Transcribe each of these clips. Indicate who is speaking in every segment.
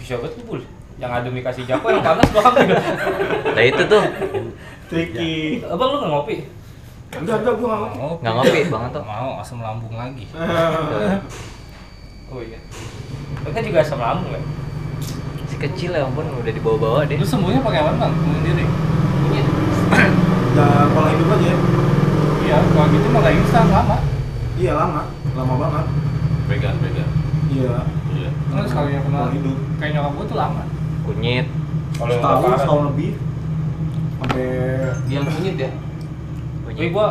Speaker 1: Syobet kumpul. Yang adem dikasih Jako, yang panas gua ambil.
Speaker 2: Nah itu tuh
Speaker 3: Tricky.
Speaker 1: Abang lu nggak ngopi?
Speaker 3: Enggak, enggak, gua nggak mau.
Speaker 2: nggak ngopi bang Anto.
Speaker 1: Mau asam lambung lagi.
Speaker 3: Ah,
Speaker 1: Oh iya. Lu kan juga asam lambung ya.
Speaker 2: Si kecil ya ampun udah dibawa-bawa deh.
Speaker 1: Lu sembuhnya pakai apa bang? Sendiri.
Speaker 2: Iya.
Speaker 3: Ya, pola hidup aja ya.
Speaker 1: Iya, kalau gitu mah nggak instan lama.
Speaker 3: Iya, lama. Lama banget.
Speaker 4: Vegan, vegan.
Speaker 3: Iya.
Speaker 4: Iya.
Speaker 1: Terus kalau yang pernah
Speaker 3: Pola hidup.
Speaker 1: kayak nyokap gua tuh lama.
Speaker 2: Kunyit.
Speaker 1: Kalau yang
Speaker 3: Setahun,
Speaker 1: kebakaran.
Speaker 3: setahun lebih. Sampai
Speaker 4: Yang kunyit ya?
Speaker 1: Tapi
Speaker 2: Kunyit.
Speaker 1: gua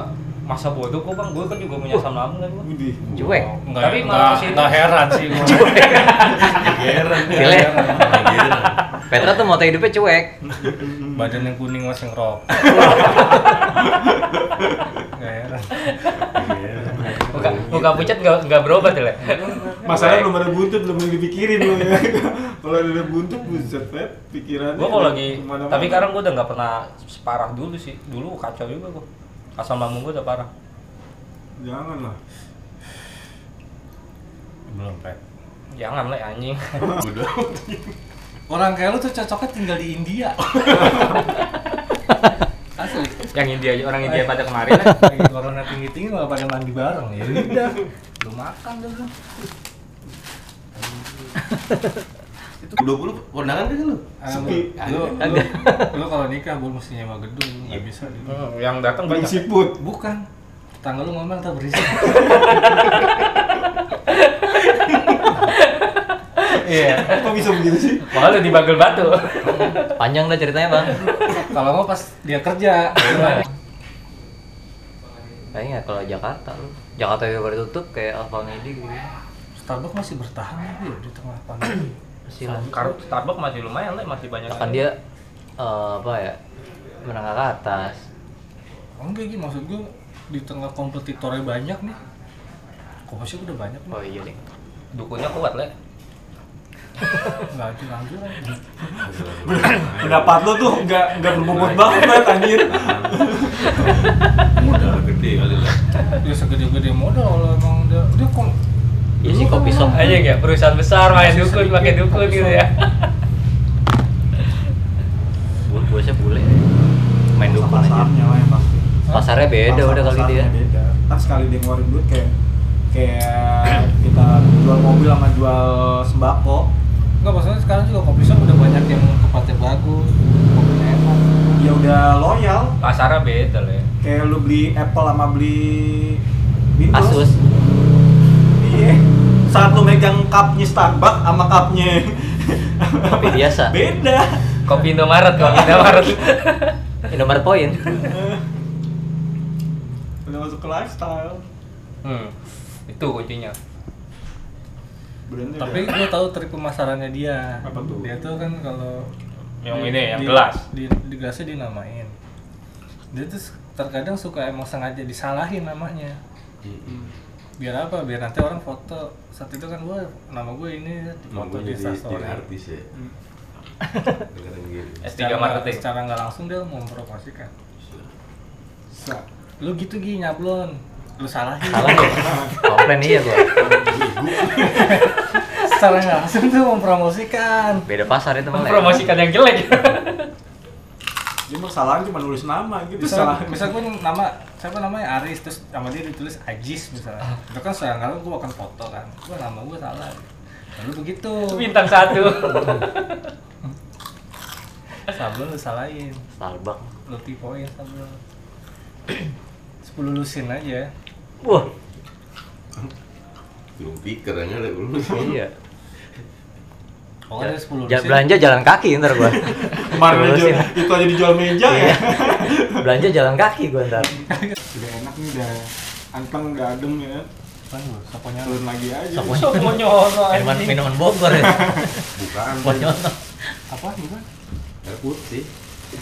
Speaker 1: masa bodoh kok bang, gua kan juga punya asam lambung kan gua.
Speaker 3: Widih.
Speaker 2: Cuek.
Speaker 1: Enggak,
Speaker 4: Tapi
Speaker 1: Tapi
Speaker 4: malah
Speaker 1: malah
Speaker 4: kesini.
Speaker 1: nggak heran sih gua.
Speaker 4: Geran.
Speaker 2: Gile. ya.
Speaker 5: Iya, gitu.
Speaker 2: Petra tuh moto hidupnya cuek.
Speaker 1: Badan yang kuning masih ngerokok. Nggak heran. Muka, muka pucat nggak nggak berobat ya? Le?
Speaker 3: Masalahnya belum ada buntut, belum ada dipikirin lu ya. Kalau ada buntut, buset Pep, pikirannya.
Speaker 1: Gua kalau lagi,
Speaker 3: kemana-mana.
Speaker 1: tapi sekarang gua udah nggak pernah separah dulu sih. Dulu kacau juga gua. Asam lambung gua udah parah.
Speaker 3: jangan lah.
Speaker 4: Belum, Pak.
Speaker 1: Jangan lah anjing.
Speaker 4: Udah.
Speaker 5: Orang kayak lu tuh cocoknya tinggal di India. Asli.
Speaker 1: Yang India orang India pada kemarin. Le.
Speaker 5: Lagi corona tinggi-tinggi malah pada mandi bareng ya. Udah. Lu makan Eh, dulu.
Speaker 4: Itu 20 kondangan kan lu?
Speaker 3: Sepi.
Speaker 5: Lu, lu, lu kalau nikah gue mesti nyewa gedung, lu nggak bisa. Gitu.
Speaker 1: Hmm, Yang datang
Speaker 3: Belum
Speaker 1: banyak.
Speaker 3: siput.
Speaker 5: Bukan. Tanggal lu ngomel tak berisik.
Speaker 1: Iya.
Speaker 3: Kok bisa begitu sih?
Speaker 1: Malah di Bagel Batu.
Speaker 2: Panjang dah ceritanya bang.
Speaker 5: Kalau mau pas dia kerja.
Speaker 2: Kayaknya nggak kalau Jakarta lu. Jakarta yang baru tutup kayak Alfa Medi gitu.
Speaker 5: Starbucks masih bertahan lagi ya di tengah pandemi.
Speaker 2: Masih lah.
Speaker 1: Karena Starbucks masih lumayan lah, masih banyak.
Speaker 2: Bahkan dia eh, apa ya menengah ke atas.
Speaker 5: Enggak gitu maksud gue di tengah kompetitornya banyak nih. Komposnya udah banyak nih.
Speaker 2: Oh iya deh.
Speaker 1: dukunnya kuat lah.
Speaker 5: Nggak ada lanjut aja.
Speaker 3: Pendapat lu tuh nggak nggak berbobot banget Pep, anjir.
Speaker 4: Modal gede kali lah.
Speaker 5: Dia segede-gede modal kalau emang dia dia kom.
Speaker 2: Iya sih,
Speaker 5: Dulu kan
Speaker 2: kopi shop.
Speaker 5: emang-
Speaker 1: aja ya perusahaan besar main dukun pakai dukun gitu ya
Speaker 2: Bul bosnya bule. Main dukun aja.
Speaker 3: Pasarnya lah yang pasti.
Speaker 2: Pasarnya beda
Speaker 3: Pasar-
Speaker 2: udah kali
Speaker 3: pasarnya
Speaker 2: dia.
Speaker 3: Beda. Ntar sekali dia ngeluarin duit kayak kayak kita jual mobil sama jual sembako.
Speaker 5: Enggak maksudnya sekarang juga kopi shop udah banyak yang tempatnya bagus, kopinya enak.
Speaker 1: Iya.
Speaker 3: Ya udah loyal.
Speaker 1: pasarnya beda lah ya
Speaker 3: Kayak lu beli Apple sama beli Windows.
Speaker 2: Asus.
Speaker 3: Iya. Saat lu megang cupnya Starbucks sama cupnya
Speaker 2: Kopi biasa.
Speaker 3: beda.
Speaker 1: kopi Indomaret kopi Indomaret
Speaker 2: Indomaret Point.
Speaker 3: Udah masuk ke lifestyle.
Speaker 1: hmm. itu kuncinya
Speaker 3: Brandnya
Speaker 5: Tapi
Speaker 3: udah-
Speaker 5: gue tahu trik pemasarannya dia.
Speaker 3: Apa tuh?
Speaker 5: Dia tuh kan kalau
Speaker 1: yang
Speaker 5: di-
Speaker 1: ini yang
Speaker 5: di-
Speaker 1: gelas
Speaker 5: Di, di gelasnya dinamain. Dia tuh terkadang suka emang sengaja disalahin namanya.
Speaker 3: Hmm.
Speaker 5: Biar apa? Biar nanti orang foto. Saat itu kan gue nama gue ini
Speaker 4: Mau
Speaker 5: foto di
Speaker 4: jadi, jadi
Speaker 5: Instastory.
Speaker 4: artis ya.
Speaker 3: Hmm.
Speaker 4: Dengerin gini.
Speaker 1: S3
Speaker 5: Secara-
Speaker 1: marketing
Speaker 5: Secara nggak langsung dia mempromosikan. Lu gitu gini nyablon. Lu salahin.
Speaker 2: Salah ya. Komplain iya gua.
Speaker 5: secara nggak langsung tuh mempromosikan
Speaker 2: Beda pasar itu malah. ya.
Speaker 1: promosikan yang jelek
Speaker 3: dia mah kesalahan cuma nulis nama gitu.
Speaker 5: misal
Speaker 3: salah.
Speaker 5: misal gue nama siapa namanya Aris terus sama dia ditulis Ajis misalnya itu kan sekarang kalau gue akan foto kan gue nama gue salah lalu begitu
Speaker 1: bintang satu
Speaker 5: sablon lu salahin
Speaker 2: Starbucks.
Speaker 5: lu tipoin sablon sepuluh lusin aja
Speaker 2: Wah,
Speaker 4: Belum pikir aja lah belum.
Speaker 2: iya.
Speaker 5: pokoknya sepuluh
Speaker 2: Ja-
Speaker 5: lusin
Speaker 2: belanja jalan kaki ntar gua.
Speaker 3: Kemarin aja Iya,
Speaker 2: Terusin.
Speaker 3: itu aja dijual meja ya.
Speaker 2: belanja jalan kaki gua ntar.
Speaker 3: Udah enak nih udah anteng udah adem ya.
Speaker 5: kan gue soponya
Speaker 3: Turun lagi aja.
Speaker 2: Soponya.
Speaker 1: semua nyono
Speaker 2: Minuman
Speaker 1: anjing
Speaker 2: minuman Bogor ya.
Speaker 4: Bukaan.
Speaker 2: Ponyono.
Speaker 5: apa gimana
Speaker 4: Air putih.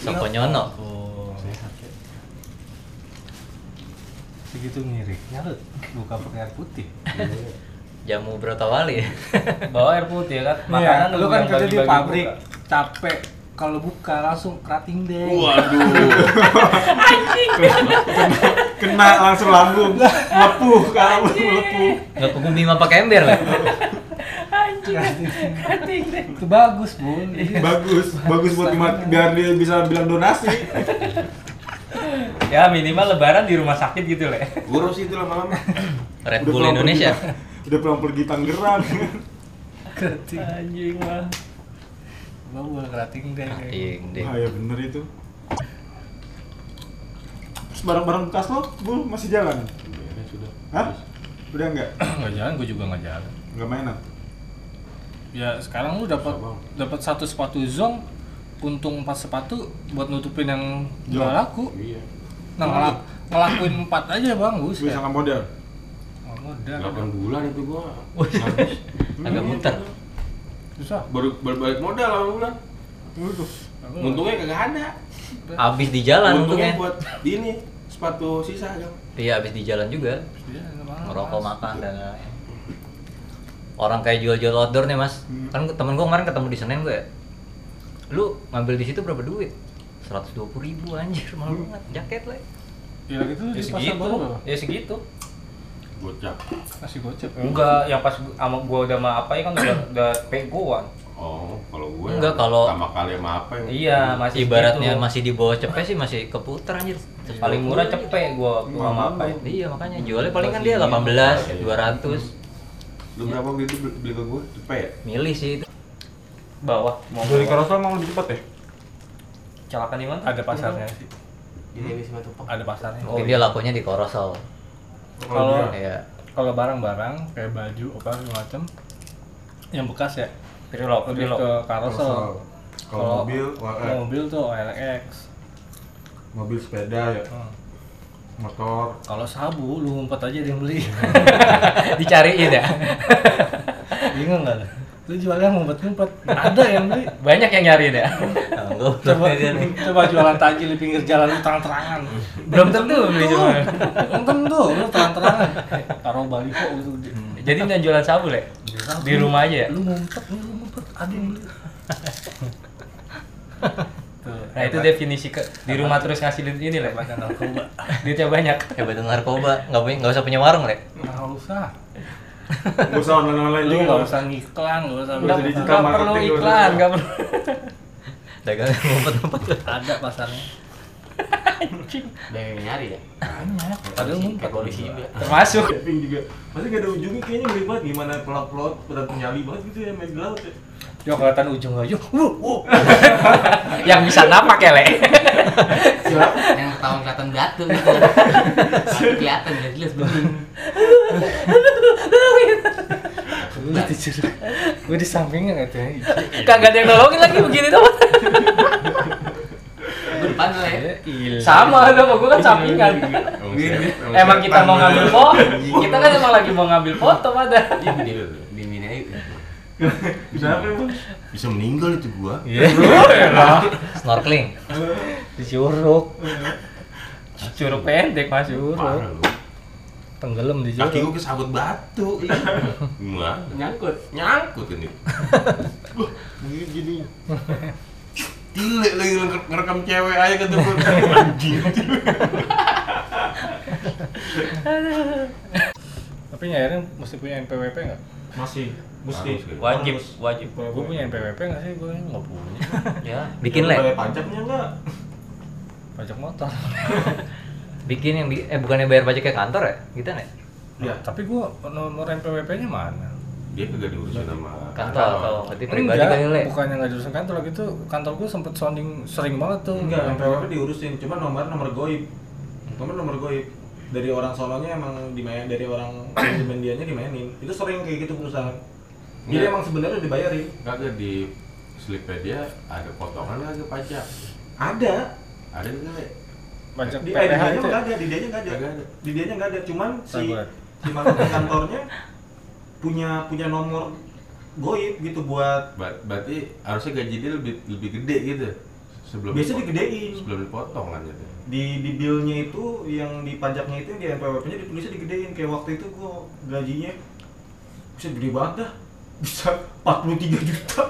Speaker 2: Soponyono.
Speaker 5: oh segitu miripnya lu buka pakai air putih
Speaker 2: Jamu Brotowali.
Speaker 1: bawa air putih ya kan
Speaker 5: Makanan lu kan
Speaker 1: yang
Speaker 5: kerja di
Speaker 1: bagi-bagi
Speaker 5: pabrik,
Speaker 1: buka.
Speaker 5: capek. Kalau buka langsung kerating deh.
Speaker 4: Waduh.
Speaker 3: Kena langsung lambung. Melepuh kamu melepuh.
Speaker 2: Enggak kebumi mah pakai ember lah.
Speaker 5: itu bagus bun
Speaker 3: Iya.
Speaker 5: Iya.
Speaker 3: bagus bagus buat dimat- biar dia bisa bilang donasi
Speaker 1: ya minimal lebaran di rumah sakit gitu le
Speaker 4: Boros itu lama-lama.
Speaker 2: Red
Speaker 3: Udah
Speaker 2: Bull
Speaker 3: pulang
Speaker 2: Indonesia.
Speaker 3: pergi- udah pulang pergi Tangerang
Speaker 5: kerating
Speaker 1: anjing mah
Speaker 5: gua bukan kerating deh gitu.
Speaker 2: Iya, deh.
Speaker 3: ah ya bener itu terus barang-barang bekas lo bul masih jalan
Speaker 5: Iya.
Speaker 4: Ya, sudah.
Speaker 3: Hah? udah nggak
Speaker 5: nggak jalan gua juga nggak jalan
Speaker 3: nggak mainan
Speaker 5: ya sekarang lu dapat
Speaker 4: Sama.
Speaker 5: dapat satu sepatu zong untung empat sepatu buat nutupin yang
Speaker 3: Zong.
Speaker 5: nggak laku
Speaker 4: Iya.
Speaker 5: nah ngelak- ngelakuin empat aja bagus
Speaker 3: bisa
Speaker 5: ya
Speaker 3: nggak model
Speaker 5: Oh, modal
Speaker 4: 8 bulan itu gua. Habis.
Speaker 2: Agak muter.
Speaker 5: susah
Speaker 4: Baru baru balik modal 8 bulan.
Speaker 3: Lu tuh
Speaker 4: Untungnya kagak ada.
Speaker 2: Abis di jalan
Speaker 4: Hmm. Untungnya
Speaker 2: untungnya.
Speaker 4: buat ini sepatu sisa aja.
Speaker 1: Ya
Speaker 2: Iya, abis di jalan juga.
Speaker 5: Iya, nggak mahal.
Speaker 2: Ngerokok, makan dan lain-lain. Orang kayak jual-jual outdoor nih, Mas.
Speaker 3: Hmm.
Speaker 2: Kan temen gua kemarin ketemu di Senen gua ya. Lu ngambil di situ berapa duit? 120 ribu anjir, mahal banget. Jaket lah.
Speaker 3: Iya,
Speaker 5: Ya gitu
Speaker 1: ya
Speaker 5: di pasar
Speaker 1: segitu
Speaker 5: baru berapa?
Speaker 1: ya segitu
Speaker 4: Gocap.
Speaker 5: Masih gocep.
Speaker 1: enggak yang pas gua- sama gua udah sama apa ya kan udah udah pegoan
Speaker 4: Oh, kalau gua
Speaker 2: Enggak, kalau-
Speaker 4: pertama kali sama apa ya? yang
Speaker 1: iya masih
Speaker 2: Ibaratnya
Speaker 1: segitu.
Speaker 2: masih di bawah cepet sih, masih keputer anjir.
Speaker 1: paling murah cepet gua waktu sama apa ya
Speaker 2: Iya, makanya jualnya paling kan dia 18, 200.
Speaker 4: Lu berapa waktu itu beli, beli ke gua? Cepet ya?
Speaker 2: Milih sih itu.
Speaker 1: bawah mau
Speaker 3: dari Karosel emang lebih cepat ya
Speaker 1: celakan di mana
Speaker 5: Ada pasarnya sih.
Speaker 4: Ini bisa batu pok.
Speaker 5: Ada pasarnya.
Speaker 2: Mungkin dia lakunya di Korosol.
Speaker 5: Kalau
Speaker 2: Iya.
Speaker 5: kalau barang-barang kayak baju apa segala macam yang bekas ya
Speaker 1: Pirlo,
Speaker 5: lebih
Speaker 1: Pirlo.
Speaker 5: ke karosel.
Speaker 4: Kalau mobil, eh.
Speaker 5: kalau mobil tuh OLX.
Speaker 4: mobil sepeda ya,
Speaker 5: Hmm.
Speaker 4: motor.
Speaker 5: Kalau sabu lu ngumpet aja dia yang beli.
Speaker 2: Dicariin ya.
Speaker 5: Bingung enggak lu? Lu jualnya ngumpet-ngumpet. Nggak Ada yang beli.
Speaker 1: Banyak yang nyariin ya.
Speaker 2: Enggak.
Speaker 5: Coba, coba jualan tajil di pinggir jalan lu terang-terangan.
Speaker 1: Belum tentu beli cuma.
Speaker 5: Belum tentu lu terang-terangan. Taruh baliho gitu.
Speaker 1: Jadi nggak jualan sabu le? Di rumah aja ya.
Speaker 5: Lu ngumpet, lu ngumpet, ada yang beli. Tuh,
Speaker 1: Nah itu definisi ke di rumah terus ngasih duit ini le.
Speaker 5: banyak narkoba.
Speaker 1: Duitnya banyak.
Speaker 2: Hebatnya narkoba, nggak punya, nggak usah punya warung lek.
Speaker 5: Nggak usah.
Speaker 3: nggak usah online-online
Speaker 5: Lu
Speaker 3: juga
Speaker 5: nggak usah ngiklan, nggak usah.
Speaker 1: Nggak
Speaker 3: Nggak usah
Speaker 5: beli.
Speaker 3: digital
Speaker 1: nggak perlu
Speaker 3: marketing, nggak
Speaker 1: iklan,
Speaker 3: usah.
Speaker 1: nggak perlu.
Speaker 2: Dagang ngumpet-ngumpet.
Speaker 5: Ada pasarnya.
Speaker 4: Udah yang nyari ya?
Speaker 5: Banyak. Padahal ngumpet.
Speaker 1: Termasuk.
Speaker 3: Camping juga pasti nggak ada ujungnya kayaknya ngeri banget gimana pelot-pelot pada penyali banget gitu ya main di laut ya
Speaker 5: Yo kelihatan ujung aja. Wuh, wuh.
Speaker 1: Yang bisa napak ya le.
Speaker 6: yang tahun kelihatan batu gitu kelihatan nggak jelas bening
Speaker 5: Gue dicuri. Gue di sampingnya katanya.
Speaker 1: Kagak ada yang nolongin lagi begini tuh.
Speaker 6: gue depan lah ya
Speaker 1: Sama ada sama gua kan sampingan.
Speaker 4: Oh,
Speaker 1: Emang kita mau ngambil foto, kita kan emang lagi mau ngambil foto pada.
Speaker 6: bimbing aja
Speaker 3: kenapa
Speaker 4: ya,
Speaker 3: emang
Speaker 4: Bisa meninggal itu gua.
Speaker 2: Snorkeling.
Speaker 5: Dicuruk.
Speaker 1: Curug pendek masuk.
Speaker 4: Parah lu.
Speaker 5: Tenggelam di
Speaker 4: Kaki
Speaker 5: juruk.
Speaker 4: gua kesabut batu. Gimana?
Speaker 6: nyangkut
Speaker 4: Nyangkut ini.
Speaker 3: gini gini
Speaker 4: Tile lagi nge- ngerekam cewek aja kata gua. Anjing.
Speaker 5: Tapi nyairin mesti punya NPWP nggak?
Speaker 3: masih mesti
Speaker 4: Harus,
Speaker 1: Wajib, wajib.
Speaker 5: Gue punya NPWP nggak sih? Gue nggak punya.
Speaker 2: Ya, bikin
Speaker 3: Bayar
Speaker 2: lek.
Speaker 3: pajaknya nggak
Speaker 5: Pajak motor.
Speaker 2: Bikin yang bi- eh bukannya bayar pajak ke kantor ya? Gitu nih.
Speaker 3: ya
Speaker 5: Tapi gue nomor NPWP-nya mana?
Speaker 4: Dia kagak diurusin sama
Speaker 2: Kantor atau berarti pribadi
Speaker 5: Enggak,
Speaker 2: kali lek.
Speaker 5: bukannya nggak jurusan kantor gitu kantor gue sempet sounding sering banget tuh
Speaker 3: enggak NPWP diurusin cuma nomor nomor goib nomor nomor goib dari orang solonya emang dimain dari orang manajemen dianya dimainin itu sering kayak gitu perusahaan jadi
Speaker 4: Iya.
Speaker 3: emang sebenarnya dibayarin
Speaker 4: Kagak di Slipedia ada potongan kagak pajak.
Speaker 3: ada
Speaker 4: Ada enggak?
Speaker 5: pajak
Speaker 3: di
Speaker 5: PPh
Speaker 3: ID-nya
Speaker 5: itu
Speaker 3: nggak ada, di dia-nya nggak ada,
Speaker 4: Nggak ada.
Speaker 3: di dia-nya nggak ada. Cuman si
Speaker 5: Sabar.
Speaker 3: si marketing kantornya punya punya nomor goib gitu buat
Speaker 4: Ber- berarti harusnya gaji dia lebih lebih gede gitu sebelum
Speaker 3: Biasanya
Speaker 4: dipotong-
Speaker 3: digedein.
Speaker 4: sebelum dipotong kan gitu
Speaker 3: di di billnya itu yang di pajaknya itu yang di NPWP-nya ditulisnya digedein kayak waktu itu gua gajinya bisa gede banget dah bisa 43 juta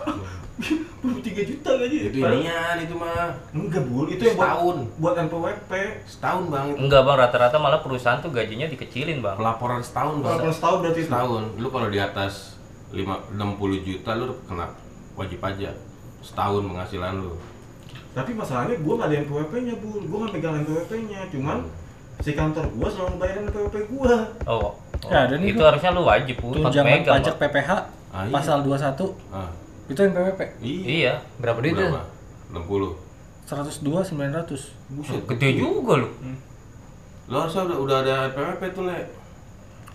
Speaker 3: 43 juta gaji
Speaker 4: itu inian itu mah
Speaker 3: enggak bul Iya, itu yang buat
Speaker 4: Setahun.
Speaker 3: buat NPWP
Speaker 4: setahun bang itu
Speaker 1: Enggak bang, rata-rata malah perusahaan tuh gajinya dikecilin bang.
Speaker 4: pelaporan setahun bang
Speaker 3: Pelaporan setahun berarti itu.
Speaker 4: setahun lu kalau di atas lima, 60 juta lu kena wajib pajak setahun penghasilan lu
Speaker 3: Tapi masalahnya gue nggak ada NPWP-nya, Bu. Gue nggak pegang NPWP-nya. Cuman si kantor gue selalu bayarin NPWP gue.
Speaker 1: Oh, oh.
Speaker 5: Ya, ada nih
Speaker 1: itu
Speaker 5: gua.
Speaker 1: harusnya lu wajib pun
Speaker 5: tunjangan pajak PPH
Speaker 4: Ah, iya.
Speaker 5: pasal 21
Speaker 4: ah,
Speaker 5: itu NPWP
Speaker 4: iya,
Speaker 1: Iya.
Speaker 2: Berapa duit tuh?
Speaker 4: berapa? 60
Speaker 5: 102 900
Speaker 4: Buset,
Speaker 1: Gede juga lu.
Speaker 4: lo harusnya udah, udah ada PPP tuh, Le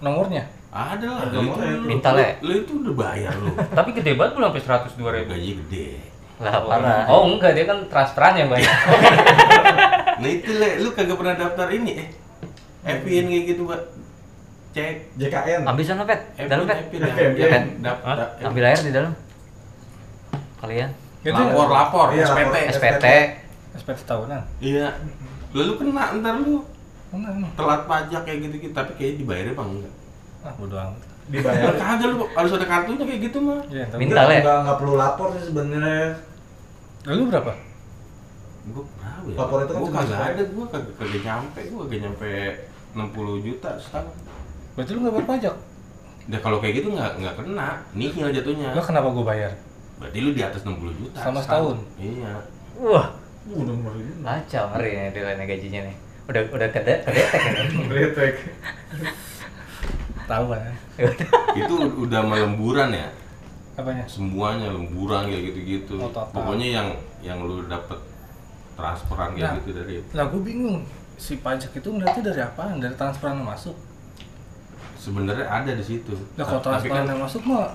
Speaker 5: nomornya
Speaker 4: ada lah,
Speaker 3: Ada
Speaker 4: lu
Speaker 3: mau
Speaker 4: itu,
Speaker 3: ya?
Speaker 4: lu-
Speaker 2: Minta, Le.
Speaker 4: lu itu udah bayar lu
Speaker 1: Tapi gede banget belum sampai 100 200.
Speaker 4: gaji gede
Speaker 2: Lah parah.
Speaker 1: Oh, enggak dia kan transferan yang banyak.
Speaker 4: nah itu le lu kagak pernah daftar ini eh FPN kayak gitu pak cek
Speaker 3: JKN.
Speaker 2: Ambil sana pet,
Speaker 4: Eh,
Speaker 2: dalam pet.
Speaker 4: FPN
Speaker 3: FPN.
Speaker 2: Ya,
Speaker 4: kan?
Speaker 2: Pet.
Speaker 1: Hah?
Speaker 4: daftar
Speaker 2: Ambil air di dalam. Kalian
Speaker 5: itu
Speaker 4: lapor lapor
Speaker 3: Iya,
Speaker 4: SPT
Speaker 3: lapor.
Speaker 2: SPT.
Speaker 5: SPT tahunan
Speaker 4: iya lalu kena ntar lu
Speaker 5: mana emang?
Speaker 4: telat pajak kayak gitu gitu tapi kayaknya dibayarnya apa enggak
Speaker 5: ah bodo amat
Speaker 4: Lah,
Speaker 3: Dibayar.
Speaker 4: kagak lu harus ada kartunya kayak gitu mah
Speaker 5: ya, tapi-
Speaker 2: Minta, Le.
Speaker 3: Enggak, enggak perlu lapor sih sebenarnya.
Speaker 5: lalu berapa
Speaker 4: gua berapa ya?
Speaker 3: Lapor itu kan
Speaker 4: gua
Speaker 3: cuma
Speaker 4: kagak
Speaker 3: sekali.
Speaker 4: ada gua kagak kagak nyampe gua kagak nyampe 60 juta setahun
Speaker 5: berarti lu nggak bayar pajak
Speaker 4: Nah kalau kayak gitu nggak nggak kena, nihil jatuhnya.
Speaker 5: Lah kenapa gue bayar
Speaker 4: Berarti lu di atas 60 juta.
Speaker 5: Selama
Speaker 4: Iya.
Speaker 2: Wah,
Speaker 3: Uh, nomor ini.
Speaker 2: kacau ngeri nih deadline gajinya nih. Udah udah kede kedetek nih.
Speaker 3: Retek.
Speaker 5: tahu kan
Speaker 4: Itu udah melemburan ya.
Speaker 5: apanya
Speaker 4: Semuanya lemburan kayak gitu-gitu.
Speaker 5: Oh, total.
Speaker 4: Pokoknya yang yang lu dapet transferan kayak
Speaker 5: Nah.
Speaker 4: gitu dari
Speaker 5: lah gue bingung si pajak itu ngeliatnya dari apaan dari transferan yang masuk
Speaker 4: sebenarnya ada di situ.
Speaker 5: lah kalau
Speaker 4: Tapi
Speaker 5: transferan
Speaker 4: kan
Speaker 5: yang masuk mah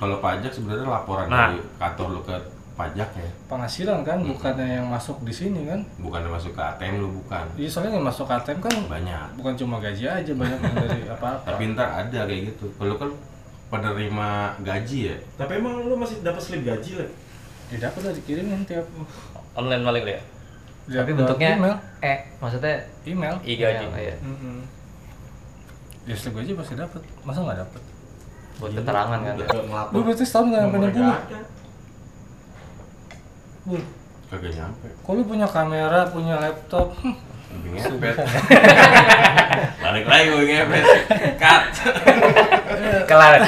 Speaker 4: kalau pajak sebenarnya laporan
Speaker 1: Nah.
Speaker 4: dari kantor lu ke pajak ya,
Speaker 5: penghasilan kan bukannya yang masuk di sini kan
Speaker 4: bukan yang masuk ke ATM lu bukan.
Speaker 5: Iya soalnya yang masuk ATM kan
Speaker 4: Banyak.
Speaker 5: bukan cuma gaji aja banyak yang dari apa-apa.
Speaker 4: Tapi ntar ada kayak gitu. Kalau kan penerima gaji ya,
Speaker 3: Tapi emang lu masih dapat slip gaji lah.
Speaker 5: Jadi aku udah dikirimin kan tiap
Speaker 1: Online paling lu ya.
Speaker 5: tiap
Speaker 2: Tapi bentuknya
Speaker 5: email,
Speaker 2: E, maksudnya
Speaker 5: email.
Speaker 1: I gaji.
Speaker 2: Email, iya.
Speaker 5: Ya slip gaji pasti dapat. Masa nggak dapat?
Speaker 2: Buat keterangan kan.
Speaker 4: Udah.
Speaker 3: Nggak ngelapor.
Speaker 5: Lu berarti setahun nggak nyampe
Speaker 3: Nomornya
Speaker 5: enam puluh.
Speaker 3: nggak ada.
Speaker 5: Bu,
Speaker 4: kagak nyampe.
Speaker 5: kok lu punya kamera, punya laptop? Hmm,
Speaker 4: Lebih ngepet balik lagi gue ngepet cut
Speaker 2: Kelar.